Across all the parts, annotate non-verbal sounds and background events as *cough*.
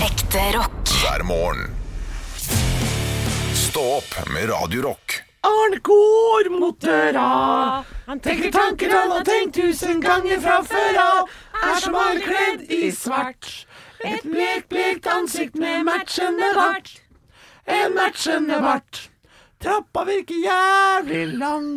Ekte rock. hver morgen. Stå opp med Radio Rock. Arne går mot døra. Han Tenker tanker han har tenkt tusen ganger fra før av. Er som alle kledd i svart. Et blekt, blekt ansikt med matchende bart. En matchende bart. Trappa virker jævlig lang.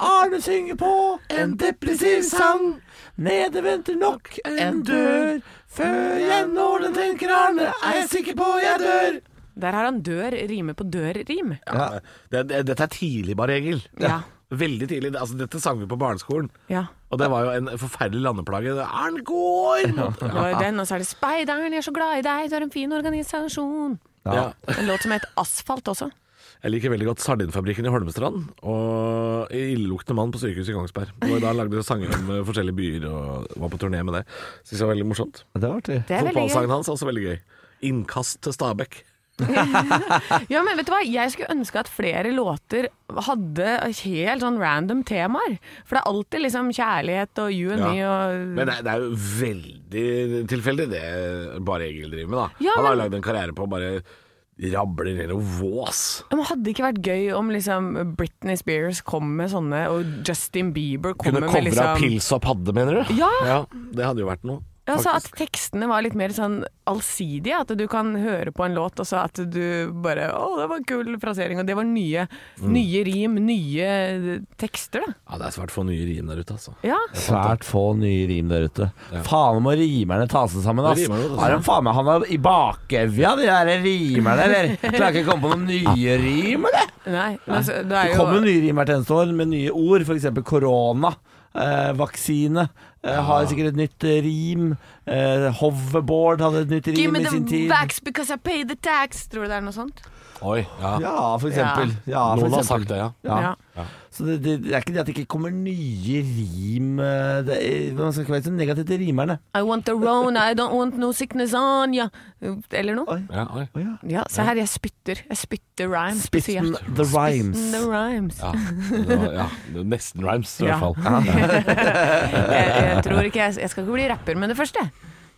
Arne synger på en depressiv sang. Nede venter nok en dør. Før jeg når den, tenker Arne, er jeg sikker på jeg dør. Der har han dør rime på dør-rim. Ja. Det, det, dette er tidlig, bare, Egil. Ja. Veldig tidlig. Altså, dette sang vi på barneskolen. Ja. Og det var jo en forferdelig landeplage. Arn går! Det var jo den, og så er det 'Speideren, jeg er så glad i deg, du er en fin organisasjon'. Ja. En låt som het Asfalt også. Jeg liker veldig godt Sardinfabrikken i Holmestrand og Illeluktende mann på sykehuset i Kongsberg. Hvor da lagde de sanger om eh, forskjellige byer og var på turné med det. Syns jeg var veldig morsomt. Det var artig. Det er veldig gøy. Fotballsangen hans er også veldig gøy. Innkast til Stabæk. Ja, men vet du hva? Jeg skulle ønske at flere låter hadde helt sånn random temaer. For det er alltid liksom kjærlighet og you and Ja. me og Men det, er- det er jo veldig tilfeldig det bare Egil driver med, da. Ja, Han har jo men- lagd en karriere på å bare rable ned noe vås. Ja, men Hadde det ikke vært gøy om liksom Britney Spears kom med sånne, og Justin Bieber kom Kunne med covra liksom pils og padde, mener du? Ja. Det hadde jo vært noe. Ja, så at faktisk. tekstene var litt mer sånn allsidige. At du kan høre på en låt, og så at du bare Å, det var en kul frasering. Og det var nye, Mm. nye rim, nye eh, tekster, da. Ja, det er svært få nye rim der ute, altså. Ja. Svært få nye rim der ute. Faen må rimerne ta seg sammen, ass. Må rimerne ta seg Har de faen meg havna i bakevja, de der rimerne, eller? Klarer ikke å komme på noen nye Ah. rim, eller? Nei, men altså, det Det er kommer jo nye rim hvert eneste år med nye ord, f.eks. korona. Eh, vaksine eh, har sikkert et nytt eh, rim. Eh, hoverboard hadde et nytt Give rim me i the sin tid. vax because I pay the tax. Tror du det er noe sånt? Oi, ja. Ja, for eksempel. Ja, for Noen har eksempel. sagt det, ja. Ja. Så det, det, det er ikke det at det ikke kommer nye rim eh, det er, Man skal ikke være så negativ til rimerne. I want the rona, I don't want no sickness on ya. Eller noe. ja oi. Å ja. Ja, se her, jeg spytter. Jeg spytter rhymes. på Spitten siden. the rhymes. Spitten the *laughs* rhymes. Ja, det var, ja. Det var nesten rhymes, i Ja. hvert fall. Jeg, jeg tror ikke jeg, jeg skal ikke bli rapper med det første.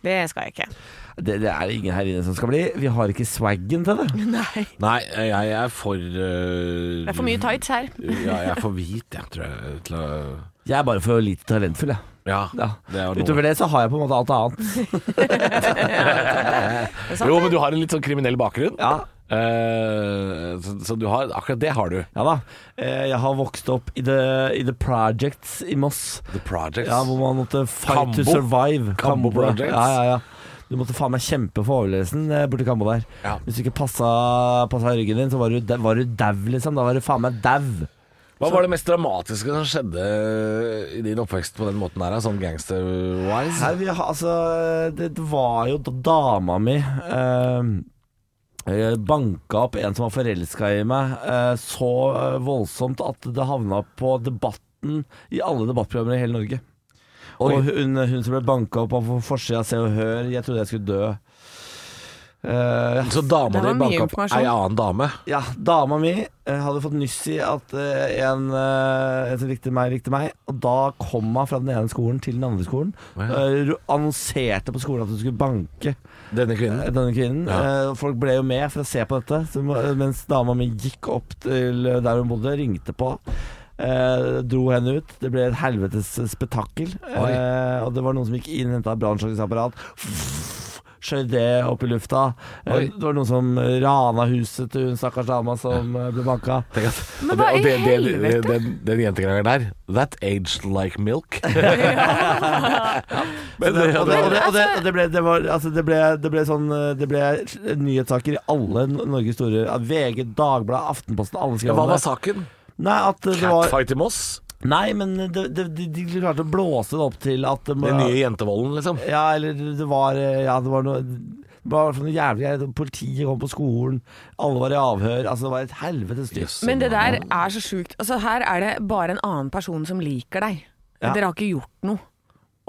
Det skal jeg ikke. Det, det er det ingen her inne som skal bli. Vi har ikke swaggen til det. Nei. Nei, jeg er for eh, Det er for mye tights her. Ja, jeg er for hvit, jeg, tror jeg. Til å Jeg er bare for lite talentfull, jeg. Ja. Ja. Det er noe. Utover det så har jeg på en måte alt annet. Jo, men du har en litt sånn kriminell bakgrunn. Ja, Eh, så, så du har Akkurat det har du. ja da. Eh, Jeg har vokst opp i The, i the Projects i Moss. The Projects. Ja, hvor man måtte fight Kambo. to survive. Kambo Kambo, ja. Projects. Ja, ja, ja. Du måtte faen meg kjempe for overlevelsen eh, borti Kambo der. Ja. Hvis du ikke passa, passa ryggen din, så var du da- var du dau, liksom. Da var du faen meg dau. Hva var det mest dramatiske som skjedde eh, i din oppvekst på den måten her, sånn gangster-wise? Nei, vi har, altså, det det var jo da dama mi eh, eh, banka opp en som var forelska i meg, eh, så eh, voldsomt at det havna på debatten i alle debattprogrammer i hele Norge. Og hun, hun som ble banka opp på forsida av Se og Hør, jeg trodde jeg skulle dø. Eh, Så dama Det var di mye banka opp informasjon. ei annen dame. ja, dama mi eh, hadde fått nyss i at eh, en, eh, en som likte meg, likte meg. Og da kom hun fra den ene skolen til den andre skolen. eh, ro- annonserte på skolen at hun skulle banke Denne eh, kvinnen. denne kvinnen. Ja. Eh, folk ble jo med for å se på dette. Så, må- eh, mens dama mi gikk opp til eh, der hun bodde, ringte på. eh, dro henne ut. Det ble et helvetes spetakkel. Oi. Eh, og det var noen som gikk inn, henta brannslukningsapparat. Skjøv det opp i lufta. Eh, Oi. det var noen som rana huset til hun stakkars dama som eh, ble banka. Tenk at, Men og hva og i helvete? Den, den jentekrangelen der That aged like milk. *laughs* Men det, Og og det, og det, det, og det, og det, ble, det, var, altså det, ble, det ble sånn eh, Det ble nyhetssaker i alle N- Norges store ja, VG, Dagbladet, Aftenposten, alle skrev hva om var det. saken? Nei, at det var, Catfight i Moss? nei, men det, det, de, de klarte å blåse det opp til at det må- Den nye jentevolden, liksom? Ja, eller det var eh, Ja, det var noe det var i hvert fall noe jævlig greit. Politiet kom på skolen, alle var i avhør. Altså, det var et helvetes styr. Jøss. Men det der er så sjukt. Altså, her er det bare en annen person som liker deg. Ja. Dere har ikke gjort noe.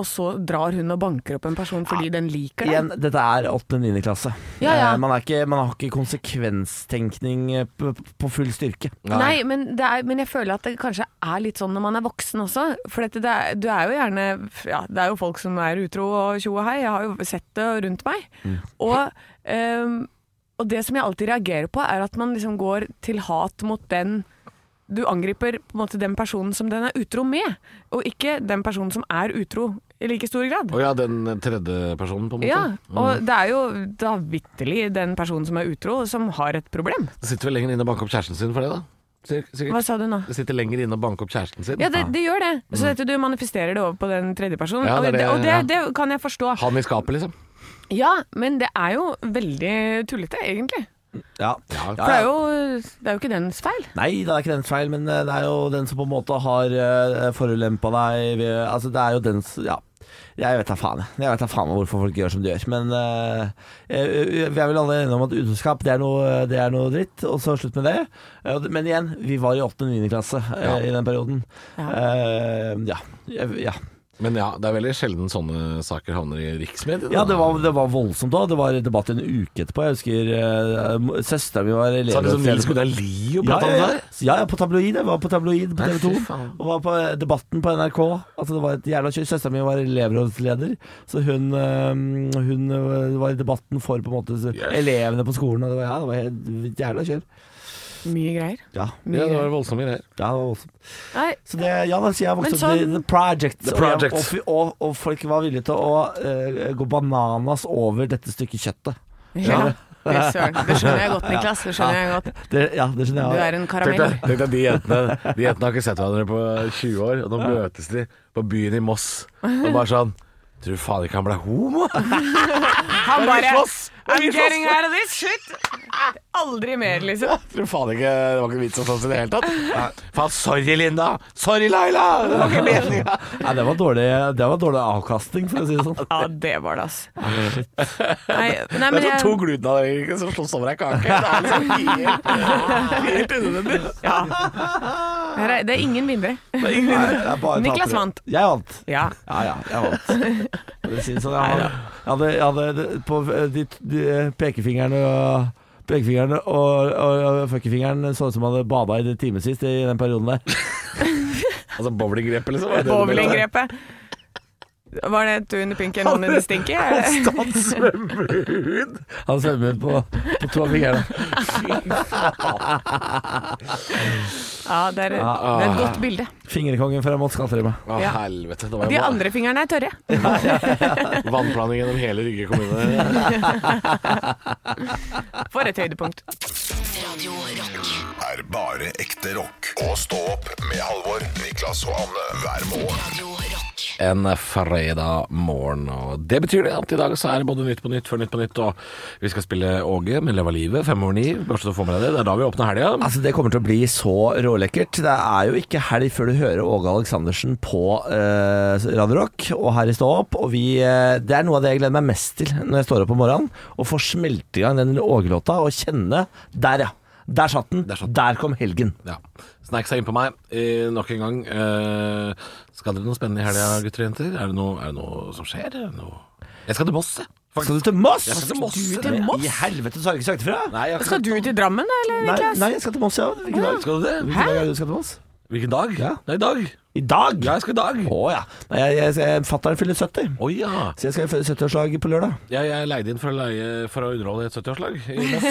og så drar hun og banker opp en person fordi den liker det. Igjen, dette er 8.-9. klasse. Ja, ja. Eh, Man, er ikke, man har ikke konsekvenstenkning eh, på, på full styrke. Nei, men, det er, men jeg føler at det kanskje er litt sånn når man er voksen også. For dette, det er, du er jo gjerne ja, Det er jo folk som er utro og tjo og hei. Jeg har jo sett det rundt meg. Og, ehm, og det som jeg alltid reagerer på, er at man liksom går til hat mot den Du angriper på en måte den personen som den er utro med, og ikke den personen som er utro i like stor grad. Å ja, den tredje personen, på en måte. Ja, og det er jo da vitterlig den personen som er utro, som har et problem. Det sitter vel lenger inne og banker opp kjæresten sin for det, da. Sik- Sikkert. Hva sa du nå? Det sitter lenger inne og banker opp kjæresten sin. Ja, det, det gjør det. Så dette, du manifesterer det over på den tredjepersonen. Mm. Ja, personen det er det- og det, det kan jeg forstå. Han i skapet, liksom. Ja, men det er jo veldig tullete, egentlig. Ja. Ja. For det er jo, det er jo ikke dens feil. Nei, det er ikke dens feil, men eh, det er jo den som på en måte har uh, forulempa deg ved, Altså, det er jo dens Ja. Jeg vet da faen, jeg. Jeg vet da faen hvorfor folk gjør som de gjør. Men eh, eh, vi er vel alle enige om at utroskap, det er noe, det er noe dritt. Og så slutt med det. Eh, og det- Men igjen, vi var i 8. og 9. klasse eh, Ja. i den perioden. Eh, ja. Jeg- ja. Men ja, det er veldig sjelden sånne saker havner i riksmediene. Ja, da. det var, det var voldsomt da. Det var debatt en uke etterpå. Jeg husker uh, søstera mi var Sa liksom Nils elevrådsleder. Gunnar Lie og Ja, prata ja, om det ja. der? ja, ja, på tabloid. Jeg var på tabloid på Nei, TV 2. fy faen. Og var på Debatten på NRK. Altså, det var et jævla kjør. Søstera mi var elevrådsleder, så hun, eh, hun eh, var i debatten for på en måte så- Yes. elevene på skolen. Og det var, ja, det var helt- et jævla kjør. Mye greier. Ja, Ja, det var voldsomme greier. ja det var voldsomt. Nei, Så det, ja, da, så jeg vokste Men opp i sånn- The Project. The og jeg- Project. Og, fy- og, og folk var villige til å eh, gå bananas over dette stykket kjøttet. ja. Fy søren. Det skjønner jeg godt, Niklas. Det skjønner jeg godt. Det, ja, det skjønner jeg. Du er en Tenk karamell. deg, tenk deg de, jentene, de jentene har ikke sett hverandre på 20 år, og nå møtes de på byen i Moss og bare sånn Tror du faen ikke han ble *laughs* homo? Han bare slåss? Er vi I'm slåss? getting out of this shit! Aldri mer, liksom. Tror du faen ikke Det var ikke vits å slåss i det hele tatt. Faen, sorry, Linda. Sorry, Laila. Det var ikke meninga. Nei, det var dårlig, det var dårlig avkasting, for å si det *laughs* sånn. Ja, det var det, altså. Nei, nei, Det men er sånn *laughs* to jeg, glutenallergikere som slåss over ei kake. Det er *laughs* liksom helt, helt unødvendig. det er ingen vinnere. Nei, jeg bare Niklas tapere. vant. Jeg vant. Ja. Ja, ja, jeg vant. For å si det sånn, jeg hadde, jeg hadde, jeg hadde på eh, de, de pekefingrene og Pekefingeren og, og, og fuckefingeren så ut som han hadde bada i det timen sist i den perioden der. Altså bowlinggrepet, liksom. var det det du mente? Bowlinggrepet. Var det to under pinken, noen under stinky? Er det- Han svømmer ut. Han svømmer på, på to av fingrene. *laughs* Ja, det er, det er et godt bilde. Fingerkongen fra Moss Skatterima. Å, Ja. helvete. Det var De jo andre fingrene er tørre. vannplaning gjennom hele Rygge *laughs* kommune. For et høydepunkt. Radio Rock. er bare ekte rock. Og stå opp med Halvor, Niklas og Anne hver morgen. Radio Rock. En fredag morgen, og det betyr det at i dag så er det både Nytt på Nytt før Nytt på Nytt, og vi skal spille Åge med Leva livet fem over ni. Bare så du får med deg det. Det er da vi åpner helga. Altså Det kommer til å bli så rålekkert. Det er jo ikke helg før du hører Åge Aleksandersen på eh, Radio Rock og her i Stå opp. Og vi, eh, det er noe av det jeg gleder meg mest til når jeg står opp om morgenen. Å få smelte i gang den Åge-låta og kjenne Der, ja. Der satt den. Der Der, satt den. kom helgen. Ja. Snek seg innpå meg eh, nok en gang. Eh, skal dere noe spennende i helga, gutter og jenter? Er det noe, er det noe som skjer? Er det noe? Jeg skal til Moss, jeg. Skal du til Moss? Jeg skal til Moss. Du til Moss? I helvete, så har jeg ikke sagt ifra. Nei, jeg Skal du til Drammen, da, eller, Nei, Niklas? nei, jeg skal til Moss, ja. Hvilken dag? Skal du det? Hvilken dag er det du skal til Moss? Hvilken dag? Ja. Det er i dag. I dag? Ja, jeg skal i dag. Å ja. Nei, jeg, jeg, jeg, Fatter'n fyller 70. Å ja. Så jeg skal i 70-årslag på lørdag. Jeg, jeg leide inn for å, leie, for å underholde i et 70-årslag.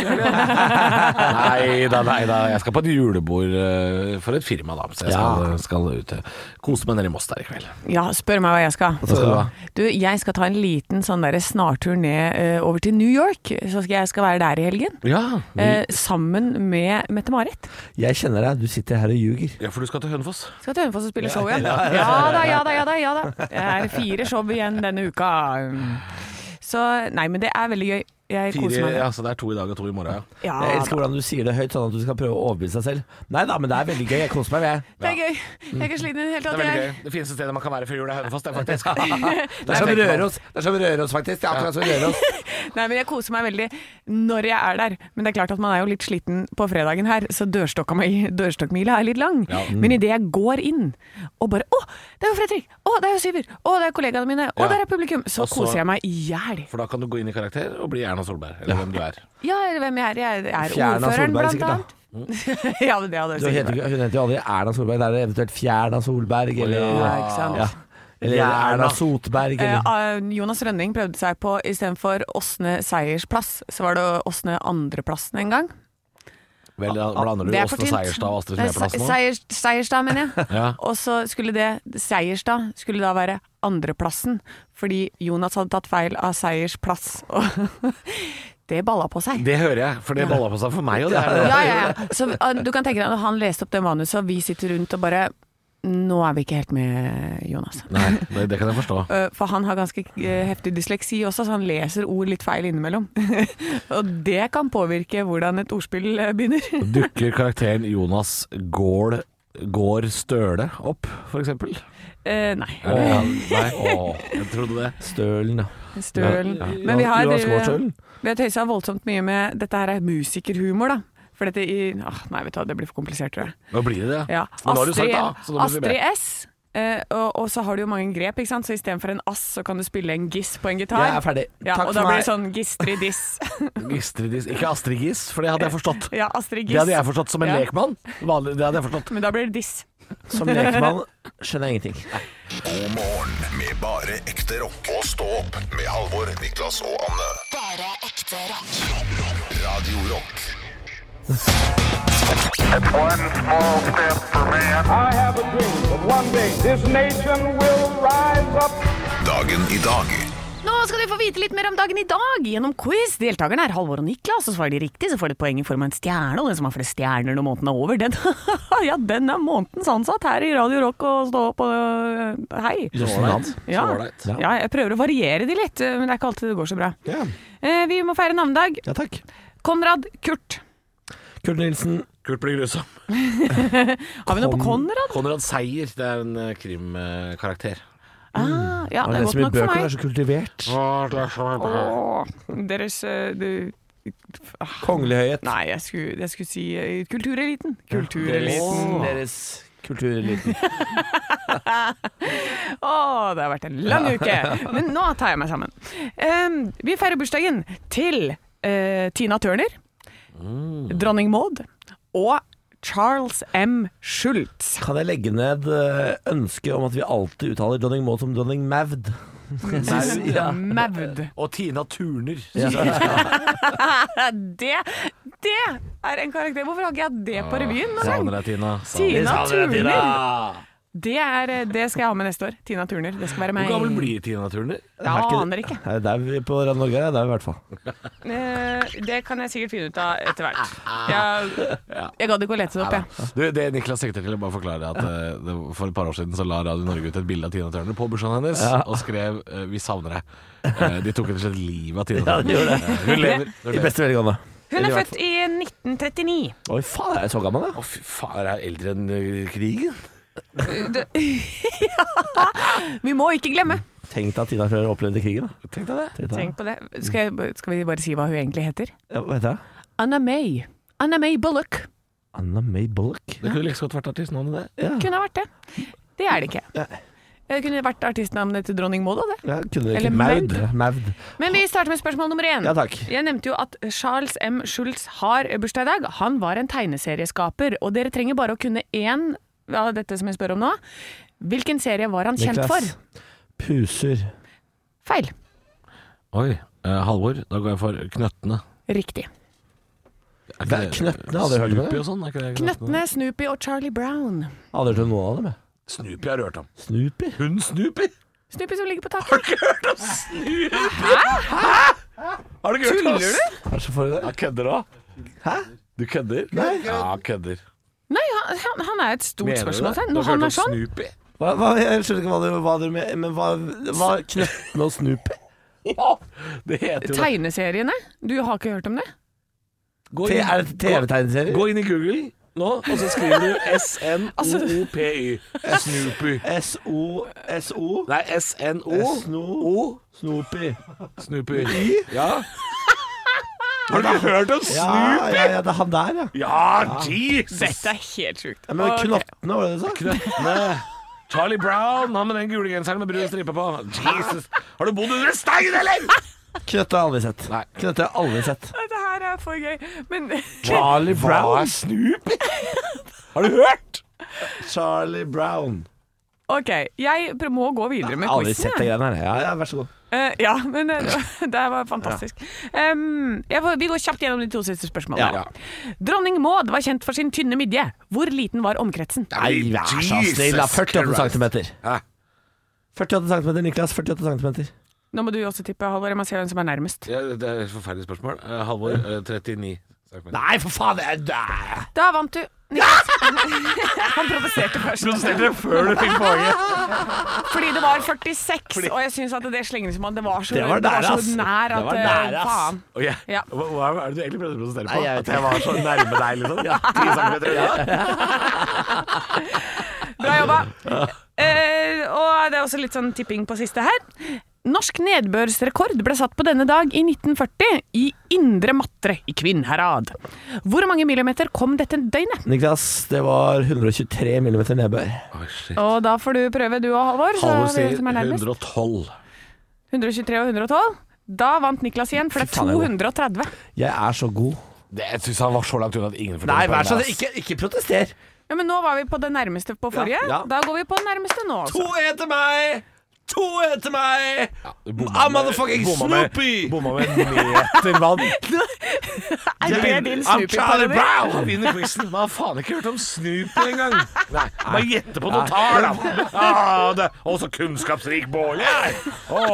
*laughs* nei da, nei da. Jeg skal på et julebord eh, for et firma, da. Så jeg skal, Ja. skal ut eh, kose meg nede i Moss der i kveld. Ja, spør meg hva jeg skal. skal du ha? Du, jeg skal ta en liten sånn der snartur ned eh, over til New York. Så skal jeg skal være der i helgen. Ja, Eh, sammen med Mette-Marit. Jeg kjenner deg, du sitter her og ljuger. for du skal til Hønefoss. Skal til Hønefoss og spille show igjen. Ja da, ja da, ja da. ja da. Det er fire show igjen denne uka. Så nei, men det er veldig gøy. Jeg koser Fire, meg. ja, så det er to i dag og to i morgen. Ja. Ja, Jeg elsker Ah, da. hvordan du sier det høyt, sånn at du skal prøve å overbevise deg selv. Nei da, men det er veldig gøy. Jeg koser meg. *laughs* Jeg. det er gøy. Jeg er ikke sliten i det hele Det tatt. er veldig jeg. gøy. Det fineste *laughs* stedet man kan være før jul, er Hønefoss, det, er faktisk. Det er som Røros, det er som Røros faktisk. Det er akkurat som Røros. Nei, men jeg koser meg veldig når jeg er der. Men det er klart at man er jo litt sliten på fredagen her, så dørstokka mi- dørstokkmila er litt lang. Mm. Men idet jeg går inn og bare Å, det er jo Fredrik! Å, det er jo Syver! Å, det er kollegaene mine! Å, Ja. der er publikum! Så Og så- koser jeg meg i hjel. For da kan du gå inn i karakter og bli Erna Solberg, eller hvem du er. Ja, eller hvem jeg er. Jeg er Fjerna ordføreren, Solberg, blant sikkert, annet. *laughs* ja, men det hadde jeg Du sikkert. heter, ikke- hun heter jo aldri Erna Solberg, det er det eventuelt Fjerna Solberg eller Ja, ikke sant. Ja. Eller Erna Erna. Sotberg eller Eh, ah, Jonas Rønning prøvde seg på istedenfor Åsne seiersplass, så var det Åsne andreplassen en gang. Vel, da blander du Det er for Åsne tynt. Seierstad og Astrid Nei, Smeplass Se- nå? Seier, Seierstad, mener jeg. *laughs* Ja. Og så skulle det Seierstad skulle da være andreplassen, fordi Jonas hadde tatt feil av seiersplass. Og *laughs* det balla på seg. Det hører jeg, for det balla på seg for meg. Og det er, Ja, ja, ja. Så ah, du kan tenke deg når han leste opp det manuset, og vi sitter rundt og bare Nå er vi ikke helt med, Jonas. Nei, det, det kan jeg forstå. Eh, For han har ganske eh, heftig dysleksi også, så han leser ord litt feil innimellom. *laughs* og det kan påvirke hvordan et ordspill eh, begynner. *laughs* Dukker karakteren Jonas Gård Gård Støle opp, for eksempel? Eh, nei. Åh, nei, åh, jeg trodde det. Stølen, da. Stølen. Ja, Men vi har, eh, Jonas drevet- Gaarstølen? vi har tøysa voldsomt mye med Dette her er musikerhumor, da. For dette i åh, Nei, vet du hva, det blir for komplisert, tror jeg. Nå blir det det. Ja. Men nå har du sagt Astrid, A, så nå blir det B. Astrid S. Eh, og, og så har du jo mange grep, ikke sant? så istedenfor en ass, så kan du spille en giss på en gitar. Jeg er ferdig. Ja, Takk og da for blir meg. det sånn *laughs* gistri-diss. Gistridis. Ikke Astrigis, for det hadde jeg forstått. ja, Astrid Giss. Det hadde jeg forstått som en Ja. lekmann. Vanlig- Det hadde jeg forstått. Men da blir det diss. Som lekmann skjønner jeg ingenting. God morgen med bare ekte rock. Og stå opp med Halvor, Niklas og Anne. Bare ekte rock. Radio Rock. One small step for man. I have a dream that one day this nation will rise up. Dagen i dag. Nå skal du få vite litt mer om dagen i dag gjennom quiz. Deltakerne er Halvor og Niklas, og svarer de riktig, så får de et poeng i form av en stjerne. Og den som har flest stjerner når måneden er over, den, *laughs* ja, den er månedens ansatt her i Radio Rock og stå opp og øh, hei. Jøssen navn. Ja. ålreit. ja, jeg prøver å variere de litt, øh, men det er ikke alltid det går så bra. Ja. Eh, Vi må feire navnedag. ja takk. Konrad Kurt. Kurt Nilsen. Kurt blir grusom. Har vi noe på Kon- Konrad? Konrad Seier, det er en eh, krimkarakter. Ah, ja, Han det leser er godt mye nok for bøker, han er meg. Mm. så kultivert. Åh, deres øh, du- Kongelehøyhet. Nei, jeg skulle, jeg skulle si øh, kultureliten. Kultureliten. Deres, deres kultureliten. Å, det har vært en lang uke. Men nå tar jeg meg sammen. Ehm, vi feirer bursdagen til eh, Tina Turner, dronning Maud og Charles M. Schultz. Kan jeg legge ned eh, ønsket om at vi alltid uttaler dronning Maud som dronning Mavd? Ja. Maud. Og Tina Turner. Det, det er en karakter. Hvorfor har ikke jeg hatt det på revyen noen Savner gang? deg, Tina. Tina Turner. Turner. Det, er, eh, det skal jeg ha med neste år. Tina Turner. Det skal være Hvor meg. gammel blir Tina Turner? Jeg aner ikke. Nei, Det er vi på Radio Norge, det er vi i hvert fall. Eh, Det kan jeg sikkert finne ut av etter hvert. Jeg, jeg gadd ikke å lete det opp, jeg. Du, det Niklas sikter til, jeg bare forklarer at eh, det, for et par år siden så la Radio Norge ut et bilde av Tina Turner på bursdagen hennes og skrev eh, 'Vi savner deg'. Eh, de tok rett og slett livet av Tina Ja, de Turner. gjorde det. Eh, hun lever. Hun I lever. beste velgående. Hun er født i 1939. Oi, faen, er jeg så gammel, da? Å, fy faen, er jeg eldre enn eh, krigen? *laughs* Vi må ikke glemme. Tenk deg at Tina Turner opplevde krigen. da. Tenk deg det. Tenk deg. Tenk på det. Skal, jeg, skal vi bare si hva hun egentlig heter? Ja, hva heter jeg? Anna May. Anna May Bullock. Anna May Bullock. Det kunne like så godt vært artistnavnet, det. Ja, Kunne ha vært det. Det er det ikke. Nei. Det kunne vært artistnavnet til dronning Maud òg, det. ja kunne det Eller ikke Maud. Ja, Maud. Men vi starter med spørsmål nummer én. Ja, takk. Jeg nevnte jo at Charles M. Schultz har bursdag i dag. Han var en tegneserieskaper, og dere trenger bare å kunne én av dette som jeg spør om nå. Hvilken serie var han kjent for? Puser. Feil. Oi. eh, Halvor, da går jeg for Knøttene. Riktig. Er ikke Det er det- Knøttene, hadde jeg hørt om det. Snoopy og sånn? Er ikke det Knøttene, Snoopy og Charlie Brown. Aldri hørt om noen av dem, jeg. Snoopy har rørt om. Snoopy? Hun Snoopy? Snoopy som ligger på taket. Har du ikke hørt om oss? Hva er det som foregår? Ja, kødder du òg? Hæ? Du kødder? Nei. Ja, kødder. Nei, han, han- han er et stort Mener du det? spørsmålstegn. Du Når har han hørt er om sånn Snoopy? Hva, hva, jeg skjønner ikke hva du, hva du mener, men hva, hva Knøttene og Snoopy? Ja, det heter jo det. Tegneseriene? Du har ikke hørt om det? Gå Te- inn- Er det TV-tegneserie? Gå inn i Google nå, og så skriver du S-N-O-O-P-Y. Snoopy. SO SO Nei, S-N-O Sno Snoopy. Snoopy. Ja. Har du ikke hørt om Ja, Snoopy? ja, ja, det er han der, ja. Ja, Jesus! Dette er helt sjukt. Ja, Men Ok. knottene, var det det du sa? Charlie Brown, han med den gule genseren med brun stripe på. Jesus! Har du bodd under en stein, eller?! Knøtter har jeg aldri sett. Nei. Knøtter har jeg aldri sett. Dette her er for gøy. Men Charlie Hva er Snoopy? Har du hørt? Charlie Brown. OK, jeg pr- må gå videre med Aldri quizen. sett de greiene her. Ja, ja, vær så god. Eh, ja, men eh, *laughs* det var fantastisk. Em, jeg får, vi går kjapt gjennom de to siste spørsmålene. Ja. Dronning Maud var kjent for sin tynne midje. Hvor liten var omkretsen? Nei, vær så Jesus snill, da. 48 Christ. centimeter. Hæ? 48 centimeter, Niklas. 48 centimeter. Nå må du også tippe, Halvor. Jeg må se hvem som er nærmest. Ja, det er et forferdelig spørsmål. Eh, Halvor, eh, 39. centimeter. Nei, for faen! Det er Nei. Da vant du. Niklas. *laughs* Han provoserte først. Før du fikk poenget. Fordi det var 46, og jeg syns at det slenger som at det var så, Det var nære, så ass. nær Det at var eh, nære, ass. Faen. Og jeg- Ja. Hva, hva er det du egentlig prøvde å protestere på? Nei, jeg vet At jeg var så nærme deg, liksom? Ja, *laughs* 10 centimeter unna? Bra *laughs* jobba. Eh, og det er også litt sånn tipping på siste her. Norsk nedbørsrekord ble satt på denne dag i 1940 i Indre Matre i Kvinnherad. Hvor mange millimeter kom dette døgnet? Niklas, det var 123 millimeter nedbør. Oi, shit. Og da får du prøve, du og Halvor. så Halvor er det sier hvem som er nærmest. 112. 123 og 112. Da vant Niklas igjen, for det Fy faen, jeg er er 230. Jeg er så god. Det, jeg syns han var så langt unna at ingen fortjener Nei, vær så poeng, snill, ass. ikke, ikke protester. Ja, Men nå var vi på det nærmeste på forrige. ja. Da går vi på den nærmeste nå. Altså. 2-1 til meg! 2-1 til meg! Du bomma I'm med- motherfucking bomma med- Snoopy! Bomma med en meter *laughs* vann. Er det vinner- din I'm Charlie Snoopy-parodi? Brown! Han vinner quizen. Men han har faen ikke hørt om Snoopy engang. *laughs* Nei, Bare gjette på noen tall, *laughs* da. Ja, det- Å, så kunnskapsrik Bård jeg er. Å.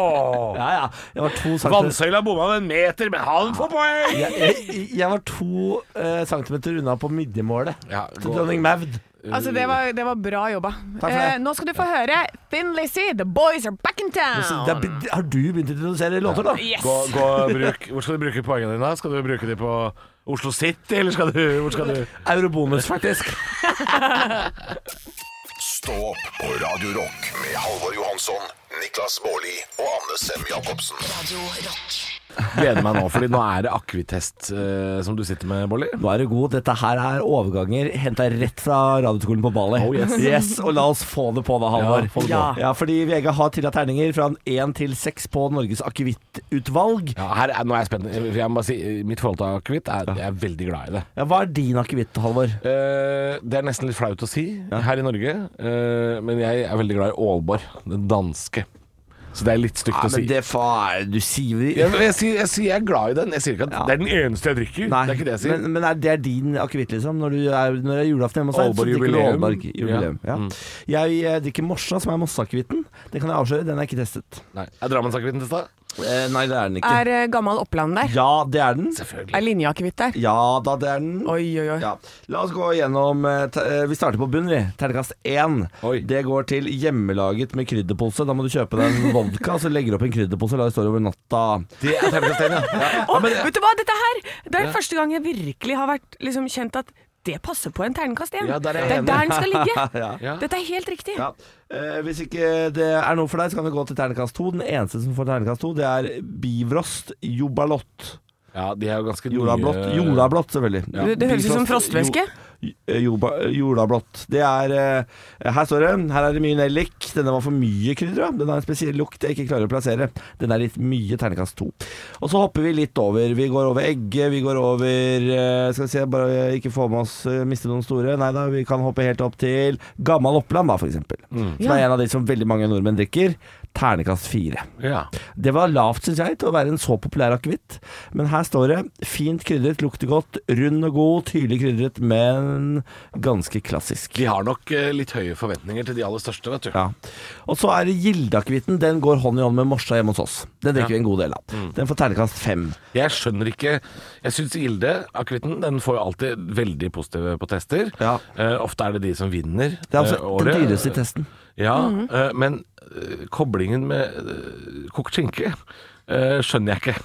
Ja, ja. Jeg var to centimeter Vannsøyla bomma med en meter, men han får poeng! jeg, jeg, jeg var to eh, centimeter unna på midjemålet Ja, til gå- dronning Maud. Altså, det var, det var bra jobba. for det. Eh, nå skal du få høre Thin Lizzie, The Boys Are Back in Så det Town. er, be- har du begynt å introdusere låter, da? Yes. Gå, gå, og bruk, hvor skal du bruke poengene dine? da? Skal du bruke de på Oslo City, eller skal du, hvor skal du Eurobonus, faktisk. Stå opp på Radio Rock med Halvor Johansson, Niklas Baarli og Anne Sem Jacobsen. Radio Rock. Gleder meg nå, fordi nå er det akvitest eh, som du sitter med, Bolli. Nå er du god. Dette her er overganger henta rett fra radioskolen på Bali. Oh, yes. og la oss få det på, da, Halvor. Ja, få det på. Ja, fordi VG har trilla terninger fra en én til seks på Norges akevittutvalg. Ja, her er, nå er jeg spent. Jeg må bare si, mitt forhold til akevitt er jeg er veldig glad i det. Ja, hva er din akevitt, Halvor? Eh, det er nesten litt flaut å si her i Norge, eh, men jeg er veldig glad i Aalborg, den danske. Så det er litt stygt å si. det faen Du sier Jeg, jeg, sier, jeg sier jeg er glad i den. Jeg sier ikke at Ja. det er den eneste jeg drikker. *laughs* Nei, det er ikke det jeg sier. men, men er det er din akevitt, liksom? Når, du er, når det er julaften hjemme hos deg, så Aalborg drikker du jubileum. Mm. Aalborg jubileum. Ja. Jeg eh, drikker Morsa, som er Mosseakevitten. Det kan jeg avsløre, den er ikke testet. Nei. Er Drammen-akevitten til stad? Eh, nei, det er den Er eh, gammel Oppland der? Ja, det er den. Selvfølgelig. Er linjeakevitt der? Ja da, det er den. Oi, oi, oi. Ja. La oss gå gjennom eh, te- eh, Vi starter på bunnen, vi. Terningkast én. Oi. Det går til hjemmelaget med krydderpose. Da må du kjøpe deg *laughs* en vodka, så legger du opp en krydderpose og lar det stå over natta. Det *laughs* er terningkast én, ja. Å, vet du hva, dette her Det er første gang jeg virkelig har vært liksom, kjent at det passer på en terningkast igjen. Ja, der er jeg det er enig. der den skal ligge. *laughs* Ja. Ja. Dette er helt riktig. Ja. Eh, hvis ikke det er noe for deg, så kan du gå til terningkast to. Den eneste som får terningkast to, det er Bivrost Jobalott. Ja, de er jo ganske Jordablått. nye- Jordablått, selvfølgelig. Det, det høres ut som Bifrost, frostvæske. jo- eh, jorda- Jordablått. Det er eh, Her står det. Her er det mye nellik. Denne var for mye krydder. ja. Den har en spesiell lukt jeg ikke klarer å plassere. Den er litt mye terningkast to. Og så hopper vi litt over. Vi går over egget, vi går over eh, Skal vi se, bare ikke få med oss eh, miste noen store. Nei da, vi kan hoppe helt opp til Gammal Oppland, da, for eksempel. Mm. Som er en av de som veldig mange nordmenn drikker. Ternekast fire. Ja. Det var lavt, synes jeg, til å være en så populær akevitt. Men her står det 'fint krydret, lukter godt, rund og god, tydelig krydret, men ganske klassisk'. De har nok eh, litt høye forventninger til de aller største, vet du. Ja. Og så er det Gildeakevitten. Den går hånd i hånd med Morsa hjemme hos oss. Den drikker vi en god del av. Mm. Den får ternekast fem. Jeg skjønner ikke Jeg syns Gilde, akevitten, den får jo alltid veldig positive på tester. Ja. Eh, ofte er det de som vinner. Det er altså eh, året. den dyreste i testen. Ja, Mhm. eh, men eh, koblingen med eh, kokt skinke eh, skjønner jeg ikke.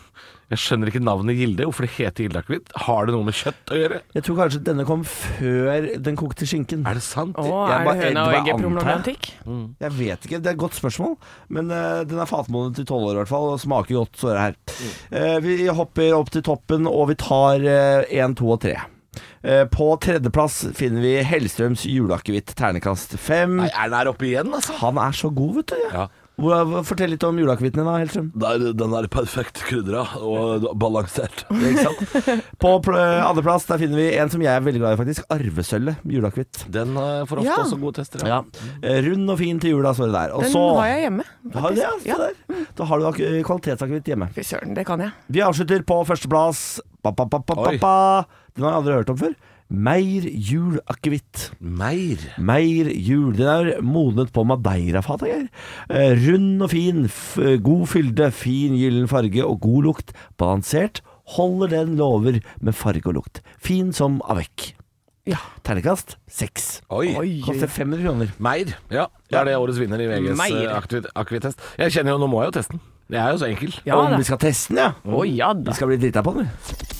Jeg skjønner ikke navnet Gilde. Hvorfor det heter Gilde akevitt? Har det noe med kjøtt å gjøre? Jeg tror kanskje denne kom før den kokte skinken. Er det sant? Å, Jeg er bare- det høna jeg og bare egget antar. problematikk? Jeg vet ikke, det er et godt spørsmål, men eh, den er fatmoden til tolv år i hvert fall, og smaker godt, så er det her. Eh, vi hopper opp til toppen, og vi tar én, to og tre. Eh, på tredjeplass finner vi Hellstrøms juleakevitt, ternekast fem. Nei, er den her oppe igjen, altså? Han er så god, vet du. Ja. Hvor- Fortell litt om juleakevitten din, da, Hellstrøm. den er perfekt krydra og balansert. Ikke sant? På pl- eh, andreplass der finner vi en som jeg er veldig glad i, faktisk. Arvesølvet. Juleakevitt. Den eh, får ofte Ja. også gode tester. Ja. Eh, Rund og fin til jula, står det der. Og Den så har jeg hjemme. Har du det, ja, faktisk. se der. Da har du ak- kvalitetsakevitt hjemme. Fy søren, det kan jeg. Vi avslutter på førsteplass. Ba, ba, ba, ba, ba, Oi. ba. Den har jeg aldri hørt om før. Meir julakevitt. Meir. Meir jul. Den er modnet på madeirafat. Geir. Eh, Rund og fin, f god fylde, fin gyllen farge og god lukt. Balansert. Holder den lover med farge og lukt. Fin som avec. Ja. Ternekast seks. Oi. Koster 500 kroner. Meir. Ja, det er det årets vinner i VGs Meir. eh, aktivit- akevitt-test. Jeg kjenner jo, nå må jeg jo teste den. Jeg er jo så enkel. Ja Om da. vi skal teste den, ja. Å ja Vi da. skal bli drita på den. vi.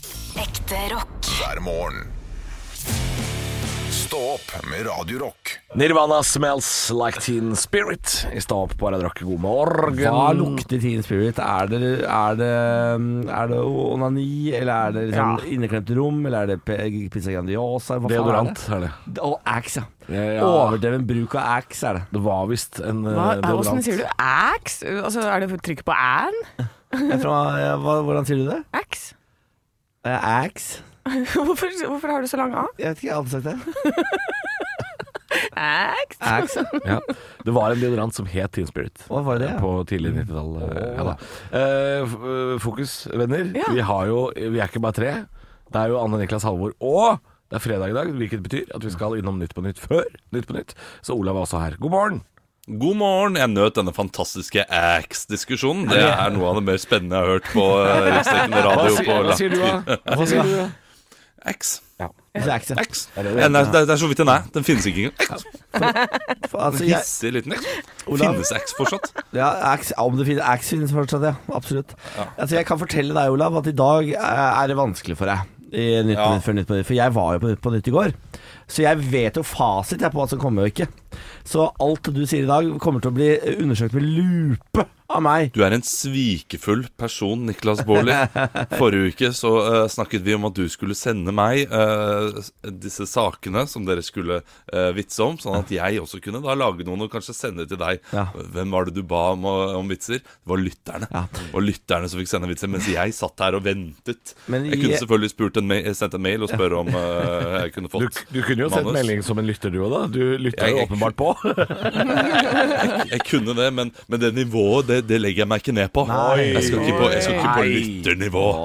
Ekte rock. hver morgen. Stå opp med Radio Rock. Nirvana smells like teen spirit. I stad opp på Radio Rock, god morgen. Hva lukter Teen Spirit? Er det, er det, mm, er det onani, eller er det liksom inneklemte rom, eller er det pe- pizza grandiosa? Hva faen er Deodorant er det. det? Og axe, ja. Ja, ja. Overdreven bruk av axe er det. Det var visst en eh, Hva, deodorant. hvordan sier du ax? Altså, er det trykk på æn? Jeg tror, ja, hva, hvordan sier du det? Ax? *laughs* Eh, Axe? Hvorfor, hvorfor har du så lang a? Jeg vet ikke, jeg har aldri sagt det. Ax? Axe? Ja. Det var en deodorant som het Teen Spirit. eh, Hva var det? Ja? På tidlig 90-tall. Ja, da. Eh, f- eh, fokus, venner. Ja. Vi, har jo, vi er ikke bare tre. Det er jo Anne Niklas Halvor og det er fredag i dag, hvilket betyr at vi skal innom Nytt på Nytt før Nytt på Nytt. Så Olav er også her. God morgen! God morgen. Jeg nøt denne fantastiske Axe-diskusjonen. Det er noe av det mer spennende jeg har hørt på eh, riksdekkende Hva, radio. sier- på hva sier du, da? Hva sier du? da? Axe. Det er Axe. Axe. Nei, nei, Det er det er så vidt en er. Den finnes ikke engang. Axe. Altså, jeg, Hissig liten Axe. Olav. Finnes Axe fortsatt? ja, axe, ja, om det finnes axe finnes fortsatt, ja. Absolutt. Altså, jeg kan fortelle deg, Olav, at i dag eh, er det vanskelig for deg. I nytt på Ja. nytt før Nytt på nytt, for jeg var jo på Nytt på nytt i går. Så jeg vet jo fasit jeg på hva som kommer og ikke. Så alt du sier i dag, kommer til å bli undersøkt med lupe av meg. Du er en svikefull person, Niklas Baarli. Forrige uke så eh, snakket vi om at du skulle sende meg eh, s- disse sakene som dere skulle eh, vitse om, sånn at jeg også kunne da lage noen og kanskje sende til deg. Ja. Hvem var det du ba om, å- om vitser? Det var lytterne. Ja. Det var lytterne som fikk sende vitser, mens jeg satt her og ventet. Men jeg kunne jeg- selvfølgelig spurt en ma sendt en mail og spørre om eh, jeg kunne Du, fått du kunne jo sendt manus. melding som en lytter, du òg, da. Du lytter Jeg- jo jeg- åpenbart på. Jeg kunne det, men, men det nivået, det, det legger jeg meg ikke ned på. Nei. Jeg skal ikke på, jeg skal ikke på Nei. lytternivå. *laughs*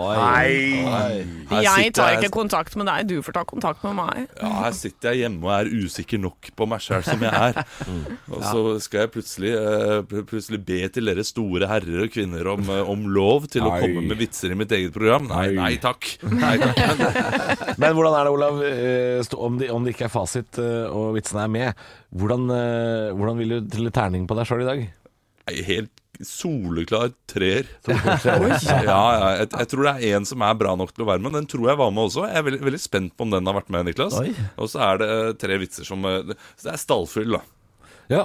Her Jeg sitter tar jeg- ikke kontakt med deg, du får ta kontakt med meg. Ja, her sitter jeg hjemme og er usikker nok på meg sjæl som jeg er. Og så skal jeg plutselig, eh, pl- plutselig be til dere store herrer og kvinner om, eh, om lov til å Nei. komme med vitser i mitt eget program. Nei, nei takk. Nei, takk. Men hvordan er det, Olav, eh, stå- om det, om det ikke er fasit eh, og vitsene er med, hvordan, eh, hvordan vil du til terning på deg sjøl i dag? Nei, Helt soleklar treer. Ja, *laughs* ja, jeg, jeg tror det er en som er bra nok til å være med. Den tror jeg var med også. Jeg er veldig, veldig spent på om den har vært med, Niklas. Oi. Og så er det eh, tre vitser som eh, Så det er stallfyll, da. Ja.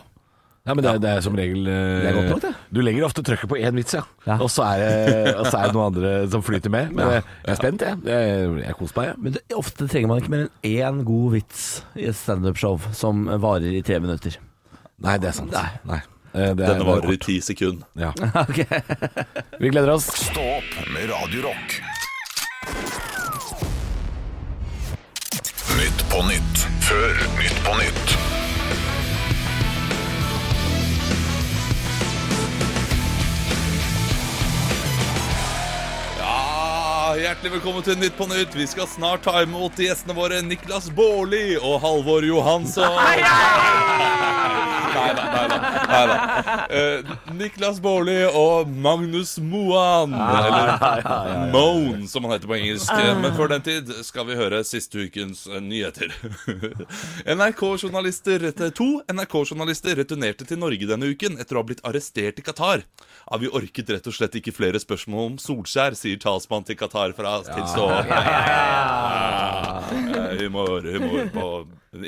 Nei, men det, er- det er som regel eh, Det er godt nok, det. Du legger ofte trøkket på én vits, ja. Ja. Og så *laughs* er, det- og så er det noen andre som flyter med. Men jeg, jeg er spent, jeg. Jeg, jeg koser meg, jeg. Men det, ofte trenger man ikke mer enn én god vits i et standup-show som varer i tre minutter. Nei, det er sant. Nei. Eh, Det er, Denne varer i ti sekunder. *laughs* Ja. Vi gleder oss. Stå opp med Radio Rock. Nytt på nytt før Nytt på nytt. Ja, Ah, hjertelig velkommen til Nytt på Nytt. Vi skal snart ta imot gjestene våre Niklas Baarli og Halvor Johansson. Nei da, nei da. Nei, da. Eh, Niklas Baarli og Magnus Moan, eller Moan som han heter på engelsk. Eh, Men før den tid skal vi høre siste ukens eh, nyheter. *laughs* NRK-journalister eh, To NRK-journalister returnerte til Norge denne uken etter å ha blitt arrestert i Qatar. Ja, vi orket rett og slett ikke flere spørsmål om Solskjær, sier talsmann til Qatar fra til så. Eh, Humor, humor på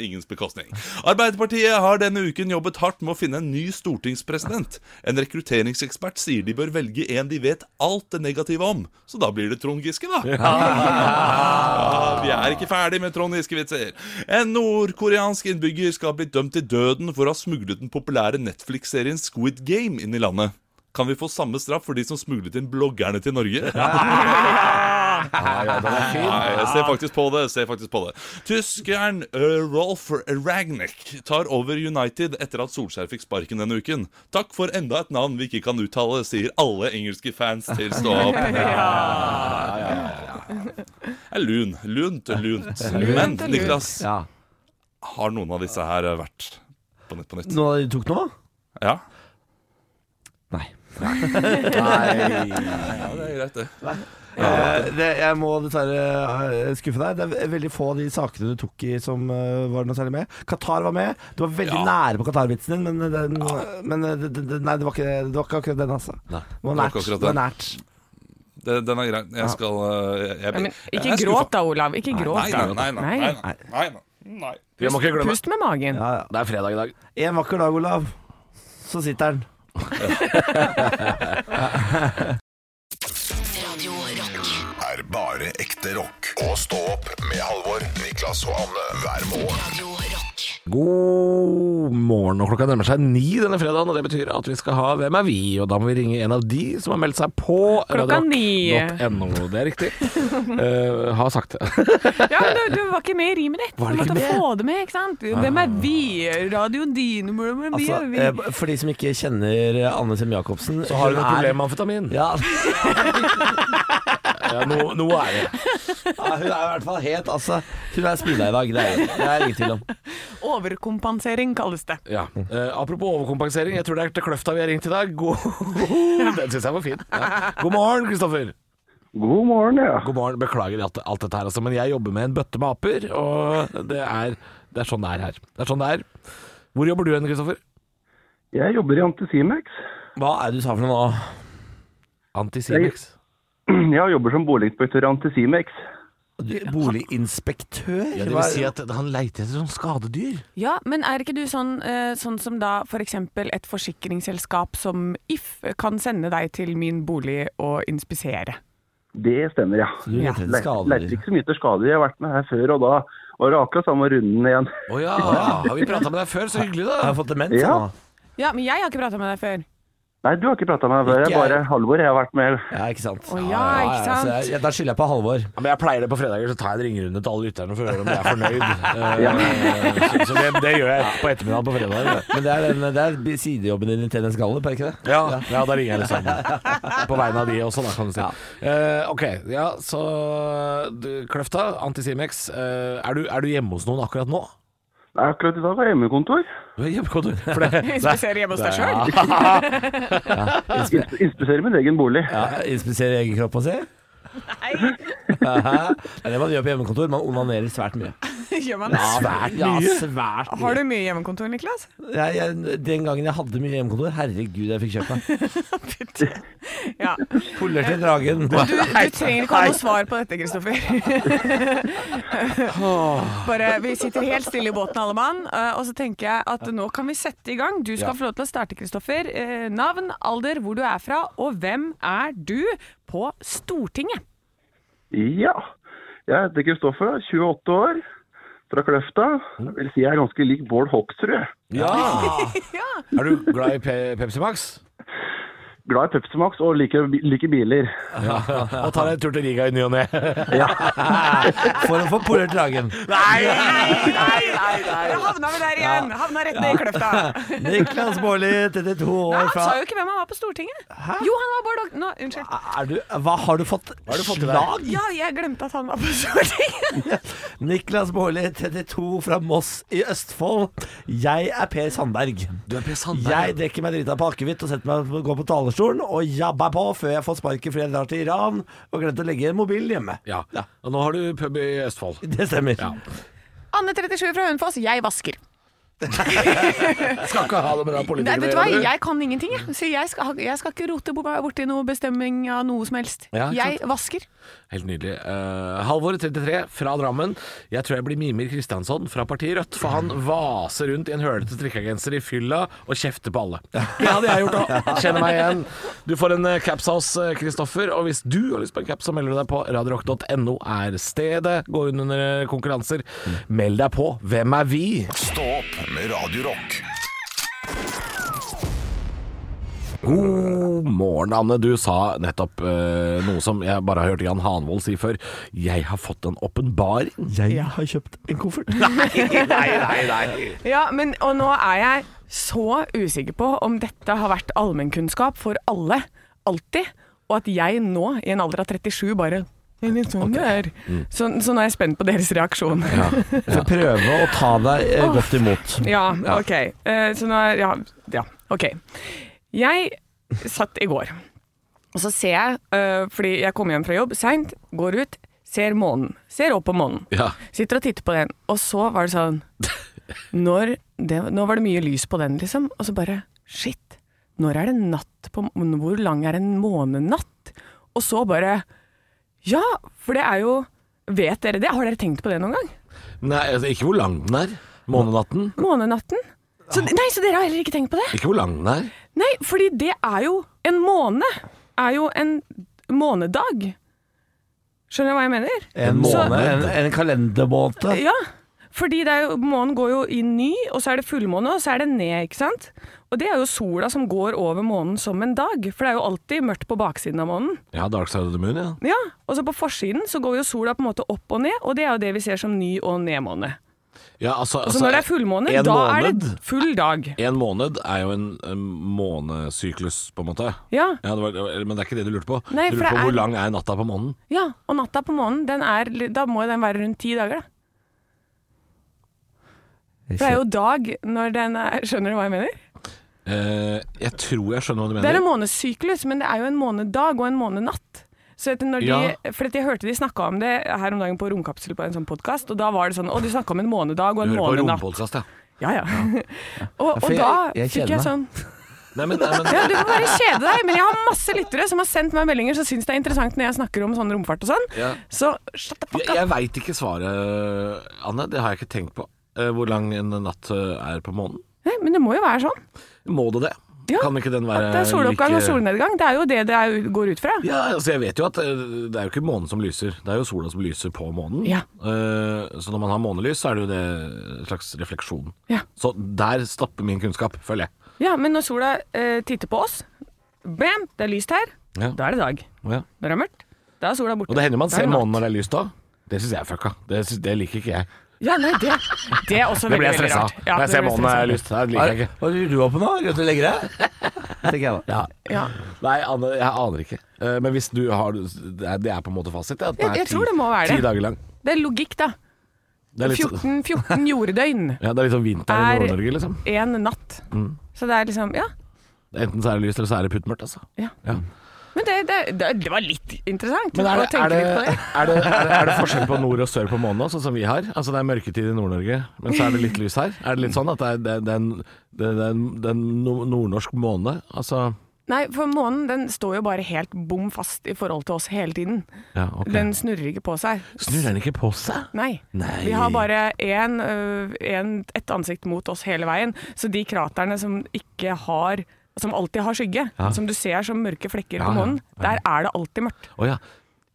ingens bekostning. Arbeiderpartiet har denne uken jobbet hardt med å finne en ny stortingspresident. En rekrutteringsekspert sier de bør velge en de vet alt det negative om. Så da blir det Trond Giske, da. Ja, vi er ikke ferdig med Trond Giske-vitser. En nordkoreansk innbygger skal ha blitt dømt til døden for å ha smuglet den populære Netflix-serien Squid Game inn i landet. Kan vi få samme straff for de som smuglet inn bloggerne til Norge? Nei, jeg ser faktisk på det. jeg ser faktisk på det Tyskeren eh, Rolf Ragnhild tar over United etter at Solskjær fikk sparken denne uken. Takk for enda et navn vi ikke kan uttale, sier alle engelske fans til *laughs* Stå opp. Det er lun. Eh, Lunt, lunt. Men *laughs* lunt. Niklas, Ja. har noen av disse her eh, vært på Nytt på Nytt? Noen av de tok noe? Ja, Nei. *laughs* ja det er greit, det. Eh, det, jeg må dessverre eh, skuffe deg. Det er ve- veldig få av de sakene du tok i som eh, var noe særlig med. Qatar var med. Du var veldig Ja. nære på Qatar-vitsen din, men, eh, den, men eh, det, det, nei, det, var ikke, det var ikke akkurat den, altså. Det var det var nært. ikke akkurat Det var nært. det den er grei. Jeg skal eh, jeg, jeg, Men jeg ikke er skuffa. gråt da, Olav. Ikke gråt Nei, da. nei, nei. nei, nei, nei, nei. nei. Vi må ikke glemme Pust med magen. Ja, ja. Det er fredag i dag. En vakker dag, Olav, så sitter den. Radio Rock. er bare ekte rock. Og stå opp med Halvor, Niklas og Anne hver morgen. Radio Rock. God morgen, og klokka nærmer seg ni denne fredagen, og det betyr at vi skal ha Hvem er vi? Og da må vi ringe en av de som har meldt seg på Klokka ni. .no. Det er riktig. *laughs* Eh, har sagt det. Ja, men du, du var ikke med i rimet ditt. Du Var det ikke måtte med? få det med, ikke sant? Ah. Hvem er vi? Radio din Hvem er vi? Altså, eh, for de som ikke kjenner eh, Anne Sem Jacobsen Så har hun et er- problem med amfetamin. Ja, *laughs* *laughs* Ja, noe, noe er det. ja, hun er i hvert fall helt altså, Hun er sprudla i dag, det er det er ingen tvil om. Overkompensering kalles det. Ja. Eh, apropos overkompensering, jeg tror det er til Kløfta vi har ringt i dag. *laughs* God... Den syns jeg var fin. Ja. God morgen, Kristoffer. God morgen, ja. God morgen. Beklager alt, alt dette her, altså, men jeg jobber med en bøtte med aper, og det er, det er sånn det er her. Det er sånn det er. Hvor jobber du hen, Kristoffer? Jeg jobber i Antisimex. Hva er det du sa for noe nå? Antisimex. Jeg jobber som boliginspektør i Antisimex. Du, Boliginspektør? Ja, det vil si at han leiter etter sånn skadedyr. Ja, men er ikke du sånn, eh, sånn som da for eksempel et forsikringsselskap som If kan sende deg til min bolig og inspisere? Det stemmer, ja. Du leter etter skadedyr. Leiter ikke så mye etter skader. Jeg har vært med her før, og da var det akkurat samme runden igjen. Å ja. Har vi prata med deg før? Så hyggelig, Har da. jeg fått demens? Ja. nå? Ja, men jeg har ikke prata med deg før. Nei, du har ikke prata med meg før. Jeg Ikke er jeg. bare Halvor. Jeg har vært med. Ja, ikke sant. Å, ja, ikke sant? så jeg, da skylder jeg på Halvor. Ja, men jeg pleier det på fredager, så tar jeg en ringerunde til alle lytterne for å høre om de er fornøyd. Eh, Så, så det, det gjør jeg på ettermiddagen på fredager. Men det er, den, det er sidejobben din i Tennis Gallup, er det ikke det? Ja, ja, da ringer jeg liksom. På vegne av de også, da, kan du si. Eh, ok, ja, så du, Kløfta, Antisimex. eh, er, du, er du hjemme hos noen akkurat nå? Nei, akkurat i dag har jeg hjemmekontor. Du er hjemme, *laughs* du. For det, Inspisere hjemme hos deg sjøl? Ins- Inspiserer min egen bolig. Ja, Inspisere egen kropp og se? Nei. det er det man gjør på hjemmekontor. Man onanerer svært mye. Gjør man det? Svært mye? Ja, svært mye. Har du mye hjemmekontor, Niklas? Jeg, jeg, den gangen jeg hadde mye hjemmekontor, herregud, jeg fikk kjøpt meg. Ja. Puller til *laughs* dragen. Du, du trenger ikke ha noe svar på dette, Kristoffer. *laughs* Bare, Vi sitter helt stille i båten, alle mann. eh, Og så tenker jeg at nå kan vi sette i gang. Du skal få lov til å starte, Kristoffer. Eh, Navn, alder, hvor du er fra, og hvem er du på Stortinget? Ja. Jeg heter Kristoffer, da, 28 år. Fra Kløfta. Jeg vil si jeg er ganske lik Bård Hoksrud. ja. Er du glad i pe Pepsi Max? glad i Pepsi Max og liker, liker biler. Og tar en tur til Riga i ny og ne. *laughs* For å få polert dragen. Nei, nei, nei! Da havna vi der igjen. Havna rett ned i kløfta. *laughs* Niklas Baarli, 32 Nei, år han fra sa jo ikke hvem han var på Stortinget. Jo, han var Bård Hoksrud Nå, Unnskyld. er du, hva, har du fått, slag? Ja, jeg glemte at han var på Stortinget. *laughs* *laughs* Niklas Baarli, 32, fra Moss i Østfold. Jeg er Per Sandberg. Du er Per Jeg drikker meg drita på akevitt og setter meg går på talerstolen og jabber på før jeg får sparket fordi jeg drar til Iran og glemte å legge mobilen hjemme. Ja. Og nå har du pub i Østfold. Det stemmer. Anne 37 fra Hønefoss, jeg vasker. Skal ikke ha det med deg Nei, politikerne vet du hva, å gjøre. jeg kan ingenting, jeg. Så jeg skal, jeg skal ikke rote bo- borti noe bestemming av noe som helst. Ja, ikke Jeg vasker. Helt nydelig. Eh, Halvor, 33, fra Drammen. Jeg tror jeg blir Mimir Kristiansson fra partiet Rødt, for han vaser rundt i en hølete strikkegenser i fylla og kjefter på alle. Det hadde jeg gjort òg. *laughs* Kjenner meg igjen. Du får en eh, caps av oss, eh, Kristoffer. Og hvis du har lyst på en caps, så melder du deg på. Radiorock.no er stedet. Gå inn under eh, konkurranser. Meld deg på. Hvem er vi? Stå opp med Radio Rock. God morgen, Anne. Du sa nettopp eh, noe som jeg bare har hørt Jan Hanvold si før. Jeg har fått en åpenbaring. Jeg har kjøpt en koffert. Ja, men, og nå er jeg så usikker på om dette har vært allmennkunnskap for alle, alltid, og at jeg nå, i en alder av 37, bare «Det er litt sånn det er. Mm. Så, så nå er jeg spent på deres reaksjon. Ja, *laughs* Så prøve å ta deg eh, godt imot. ok. Eh, så nå er, ja, ja, ok. Jeg satt i går, og så ser jeg, eh, fordi jeg kom hjem fra jobb seint, går ut, ser månen. Ser opp på månen. Ja. Sitter og titter på den, og så var det sånn når det, Nå var det mye lys på den, liksom, og så bare Shit, når er det natt på månen? Hvor lang er en månenatt? Og så bare Ja, for det er jo Vet dere det? Har dere tenkt på det noen gang? Nei, altså, ikke hvor lang den er. Månenatten. Månenatten? Så, nei, så dere har heller ikke tenkt på det? Ikke hvor lang den er. Nei, fordi det er jo En måne er jo en månedag. Skjønner du hva jeg mener? En Så- måned, en, en kalendermåned. Ja, fordi det er jo, månen går jo i ny, og så er det fullmåne, og så er det ned, ikke sant? Og det er jo sola som går over månen som en dag, for det er jo alltid mørkt på baksiden av månen. Ja, Dark Side of the Moon, ja. Ja, og så på forsiden så går jo sola på en måte opp og ned, og det er jo det vi ser som ny og nedmåne. ja altså, Og så når det er fullmåne, en da er måned, det full dag. En måned er jo en, en månesyklus, på en måte. Ja, det var, eller- men det er ikke det du lurte på. Nei, du for lurte det er- på hvor lang er natta på månen. ja, og natta på månen, den er, da må jo den være rundt ti dager da. For det er jo dag når den er, skjønner du hva jeg mener? Eh, jeg tror jeg skjønner hva du Det er mener. en månedssyklus, men det er jo en månedag og en månenatt. Så at når de, Ja. for at jeg hørte de snakka om det her om dagen på Romkapsel på en sånn podkast, og da var det sånn Å, de snakka om en månedag og Du en hører på månenatt. rompodkast, ja. Ja, ja. *laughs* og, og for jeg- da jeg kjeder fikk jeg sånn Nei, men, nei, *laughs* men Ja, du får bare kjede deg, men jeg har masse lyttere som har sendt meg meldinger som syns det er interessant når jeg snakker om sånn romfart og sånn. Ja. Så shut the fuck Jeg, up. jeg veit ikke svaret, Anne. Det har jeg ikke tenkt på. Eh, Hvor lang en natt eh, er på månen? Nei, men det må jo være sånn. Må det det? Ja, Kan ikke den være At det er soloppgang like- og solnedgang. Det er jo det det er, går ut fra. Ja, altså jeg vet jo at eh, det er jo ikke månen som lyser, det er jo sola som lyser på månen. Ja. Eh, Så når man har månelys, så er det jo det en slags refleksjon. Ja. Så der stopper min kunnskap, føler jeg. Ja, men når sola eh, titter på oss, bam, det er lyst her, Ja. da er det dag. Når det er mørkt, da er sola borte. Og det hender man Da er ser det natt. månen når det er lyst da. Det syns jeg er fucka. Det, syns- det liker ikke jeg. Ja, nei, det, det er også Det blir veldig, veldig jeg stressa rart. av. Ja, Når jeg det ser blir månen når stressa. det er lyst. Det Hva liker jeg ikke. lurer du på nå? Glemte du å legge *laughs* deg? Tenker jeg da. Ja. Ja. Nei, Anne, jeg aner ikke. Eh, Men hvis du har Det er- det er på en måte fasit? ja, at den Jeg- er jeg ti- tror det må være det. Ti dager lang. Det er logikk, da. Det er litt, 14, 14 jorddøgn, ja, det er litt sånn vinter i Er- Nord-Norge, liksom. én natt. Mm. Så det er liksom Ja. Enten så er det lyst, eller så er det puttmørkt, altså. ja. Ja. Men det, det, det, det var litt interessant Men er å det, tenke er, det, litt på det. er, det, er, det, er det forskjell på nord og sør på månen nå, sånn som vi har? Altså Det er mørketid i Nord-Norge, men så er det litt lys her. Er det litt sånn at det er, det, det er, en, det, det er en, det er en no- nordnorsk måne? Altså Nei, for månen den står jo bare helt bom fast i forhold til oss hele tiden. ja, ok. Den snurrer ikke på seg. Snur den ikke på seg? Nei. Nei. Vi har bare én, øh, én- ett ansikt mot oss hele veien. Så de kraterne som ikke har Som alltid har skygge, som du ser som mørke flekker Ja, på ja, månen, der er det alltid mørkt. Å ja.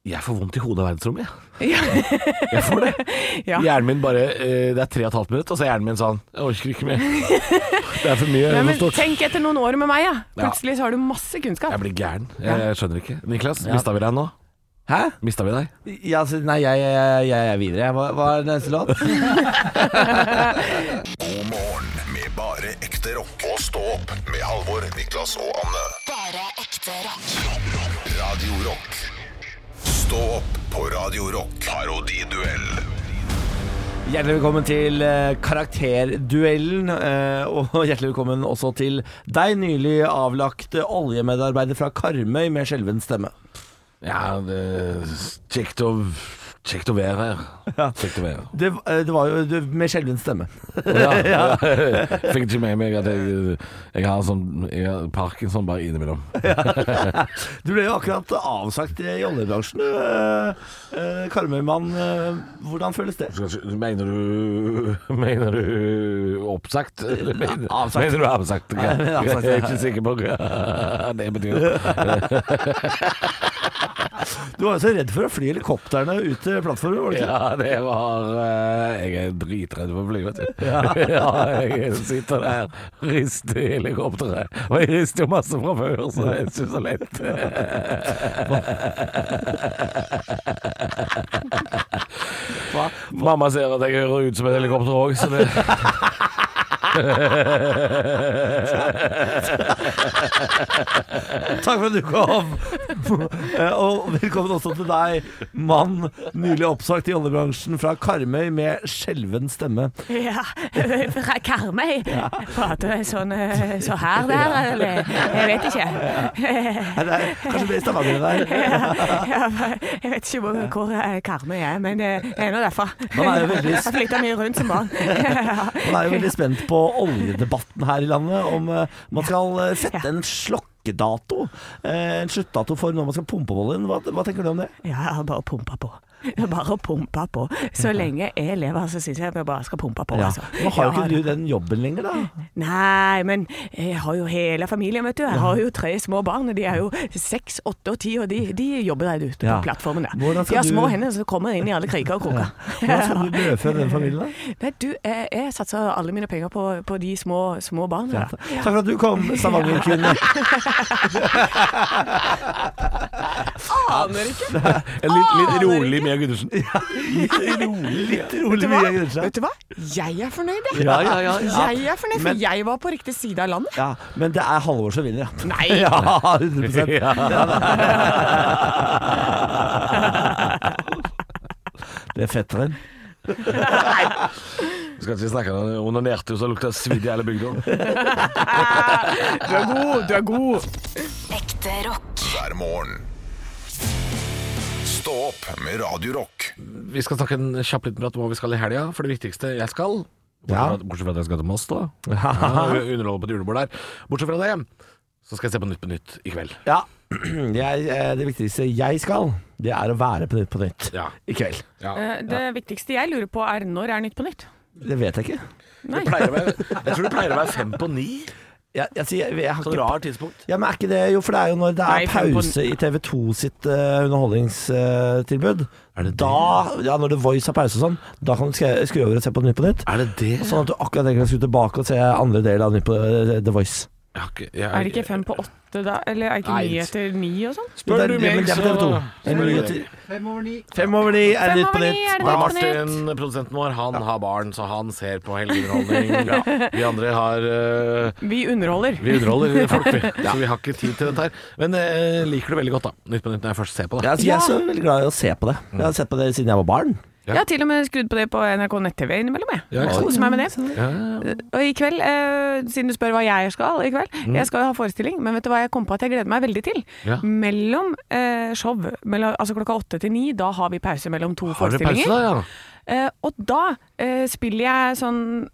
Jeg får vondt i hodet av verdensrommet, jeg. Ja. Jeg får det. Ja. Hjernen min bare eh, Det er tre og et halvt minutt, og så er hjernen min sånn Jeg orker ikke mer. Det er for mye. Nei, det er men for stort. tenk etter noen år med meg, ja. Plutselig så har du masse kunnskap. Jeg blir gæren. Jeg, jeg skjønner ikke. Niklas, mista vi deg nå? Hæ? Mista vi deg? Ja, altså, nei, jeg, jeg, jeg er videre. Hva, hva er neste låt? God morgen med bare ekte rock. Og stå opp med Halvor, Niklas og Anne. Bare ekte rock. Radio Rock. Stå opp på Radio Rock. Parodiduell. Hjertelig velkommen til eh, Karakterduellen, eh, og *laughs* hjertelig velkommen også til deg, nylig avlagt eh, oljemedarbeider fra Karmøy med skjelven stemme. Ja, det Kjekt å Kjekt å være her. Kjekt å *laughs* være her. Det, eh, det var jo det, med skjelven stemme. Ja. *laughs* Fikk ikke med meg at jeg, jeg har sånn jeg har parkinson bare innimellom. Du ble jo akkurat avsagt i oljebransjen. Eh, eh, Karmøymann, eh, hvordan føles det? Skal ikke- Mener du *laughs* Mener du oppsagt? Eller mener, avsagt. mener du avsagt? Nei, men avsagt, Jeg ja. er ikke sikker på hva *laughs* det *laughs* betyr. Du var jo så redd for å fly helikoptrene ut til plattformen, var du ikke? Ja, det var eh, Jeg er dritredd for å fly, vet du. *laughs* Ja, jeg sitter der, rister i helikopteret. Og jeg rister jo masse fra før, så det er ikke så lett. *laughs* Mamma ser at jeg hører ut som et helikopter òg, så det Takk for at du kom. Eh, Og velkommen også til deg, mann nylig oppsagt i oljebransjen fra Karmøy med skjelven stemme. Ja, fra Karmøy. Prater jeg sånn eh, så her der, eller? Jeg vet ikke. Er det, kanskje det er i Stavanger der? Ja, Jeg vet ikke hvor, hvor eh, Karmøy er, men eh, jeg er nå derfra. Man er jo veldig- Jeg flytta mye rundt som barn. Man er jo veldig spent på oljedebatten her i landet, om eh, man skal eh, sette en slokkedato. eh, En sluttdato for når man skal pumpe opp oljen. Hva, hva tenker du om det? Ja, jeg har bare pumpa på. Jeg har Bare pumpa på. Så lenge jeg lever, så syns jeg jeg bare skal pumpe på. Ja. Altså. Nå har jo Ja, ikke du den jobben lenger, da. Nei, men jeg har jo hele familien, vet du. Jeg har jo tre små barn, og de er jo seks, åtte og ti, og de, de jobber der ute Ja. på plattformen der. Hvordan skal De har du- små hender som kommer inn i alle kriker og kroker. Hvordan *laughs* skal du brødfø den familien, da? Nei, du, jeg, jeg satser alle mine penger på, på de små, små barna. da. Takk for at du kom, Stavanger-kvinne. Aner ikke. En litt, Ah, litt rolig Mia Gundersen. Litt rolig Vet du hva? mye, kanskje. Vet du hva? Jeg er fornøyd, jeg. Ja, ja, ja, ja. Jeg er fornøyd, for Men- jeg var på riktig side av landet. Ja, men det er Halvor som vinner, ja. Nei. *laughs* Ja, 100 Ja. Det er fetteren. Skal ikke snakke om det. Onanerte jo så lukta svidd i hele bygda. Du er god, du er god. Ekte rock. Hver morgen. Stå opp med Radio Rock. Vi skal snakke en kjapp liten prat om hva vi skal i helga, for det viktigste jeg skal Bortsett Ja. fra at- bortsett fra at jeg skal til Moss, da. Ja, Underholde på et julebord der. Bortsett fra det, så skal jeg se på Nytt på Nytt i kveld. Ja. Jeg, eh, det viktigste jeg skal, det er å være på Nytt på Nytt Ja. i kveld. Eh, Det viktigste jeg lurer på er når er Nytt på nytt? Det vet jeg ikke. Nei. Pleier å være, jeg tror det pleier å være fem på ni. Jeg, jeg, sier- jeg, jeg har Sånn ikke rar tidspunkt. ja, men er ikke det, jo, for det er jo når det er Nei, fem på- pause i TV2 sitt eh, underholdningstilbud. Er det det? da, ja, Når The Voice har pause og sånn, da kan du skre- skru over og se på Nytt på Nytt. Er det det? Sånn at du akkurat kan skru tilbake og se andre del av Nytt på eh, The Voice. Jeg har ikke- jeg- Er det ikke fem på åtte da? Eller er det ikke Nei. ni etter ni og sånn? Det Spør du er- meg, men det er på så- TV2. Det er Spør mye du til- meg. Fem over ni er det Fem Nytt på over ni Nytt. er det Da Nytt på Martin, produsenten vår, han har barn, så han ser på *laughs* helgeunderholdning. Vi andre har eh, Vi underholder. Vi underholder folk, vi. Så vi har ikke tid til dette her. Men eh, liker det veldig godt, da. Nytt på nytt når jeg først ser på det. Ja, altså, Jeg er så veldig glad i å se på det. Jeg Mm. har sett på det siden jeg var barn. Ja. Jeg har til og med skrudd på det på NRK nett-TV innimellom, jeg. Ja, ikke sant? Koser meg med det. Og i kveld, eh, siden du spør hva jeg skal i kveld Jeg skal jo ha forestilling, men vet du hva jeg kom på at jeg gleder meg veldig til? Mm. Ja. Mellom eh, show, mellom, altså klokka åtte til ni, da har vi pause mellom to Har dere pause, forestillinger. da? Ja. Eh, og da eh, spiller jeg sånn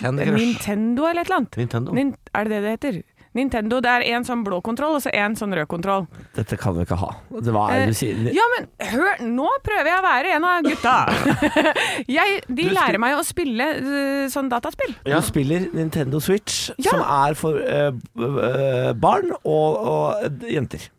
Candy Crush. Nintendo eller et eller annet. Nintendo. Nin er det det det heter? Nintendo. Det er én sånn blå kontroll, og så én sånn rød kontroll. Dette kan vi ikke ha. Det var Eh, du sier Ja, men hør, nå prøver jeg å være en av gutta. *laughs* jeg, de lærer meg å spille eh, sånn dataspill. Du spiller Nintendo Switch, Ja. som er for eh, b- eh, barn og, og eh, jenter.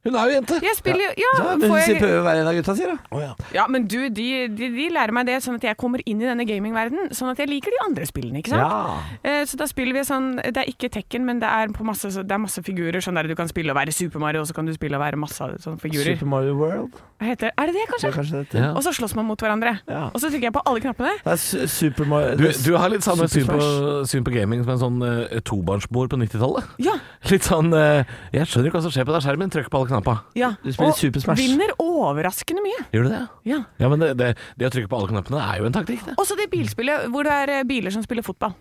Hun er jo jente. Jeg spiller jo Ja, Ja, men får hun sier jeg, prøver hver en av gutta sier, da. Å, ja. ja men du, de, de, de lærer meg det sånn at jeg kommer inn i denne gamingverdenen, sånn at jeg liker de andre spillene, ikke sant? Eh, Så da spiller vi sånn Det er ikke Tekken, men det er, på masse, så- det er masse figurer. Sånn der du kan spille og være Super Mario, og så kan du spille og være masse sånne figurer. Super Mario World. Hva Heter, er det det, Det er kanskje? kanskje det. Og så slåss man mot hverandre. Ja. Og så trykker jeg på alle knappene. Det er su- Super Mario Du, du har litt samme syn Super på, Smash. syn på gaming som en sånn eh, tobarnsmor på 90-tallet. Ja, *laughs* Litt sånn eh, Jeg skjønner ikke hva som skjer på den skjermen. Trykk på alle knappa. ja. Du spiller og Super Smash. vinner overraskende mye. Gjør du det? Ja. Ja, men det, det, det å trykke på alle knappene er jo en taktikk, det. Og så det bilspillet hvor det er eh, biler som spiller fotball.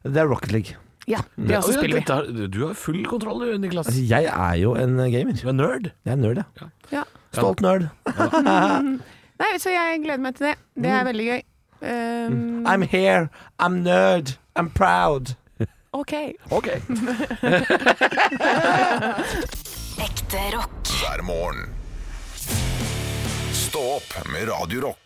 Det er Rocket League. Ja, Mm. det også Ja, spiller vi. dette har- Du har full kontroll, du, Niklas. Altså, jeg er jo en gamer. Du er nerd. Jeg er nerd, jeg. Ja. Stolt nerd. Nei, så jeg gleder meg til det. Det Mm. er veldig gøy. Um, I'm here. I'm nerd. I'm proud. OK. Ok. Ekte rock. hver morgen. Stå opp med Radio Rock.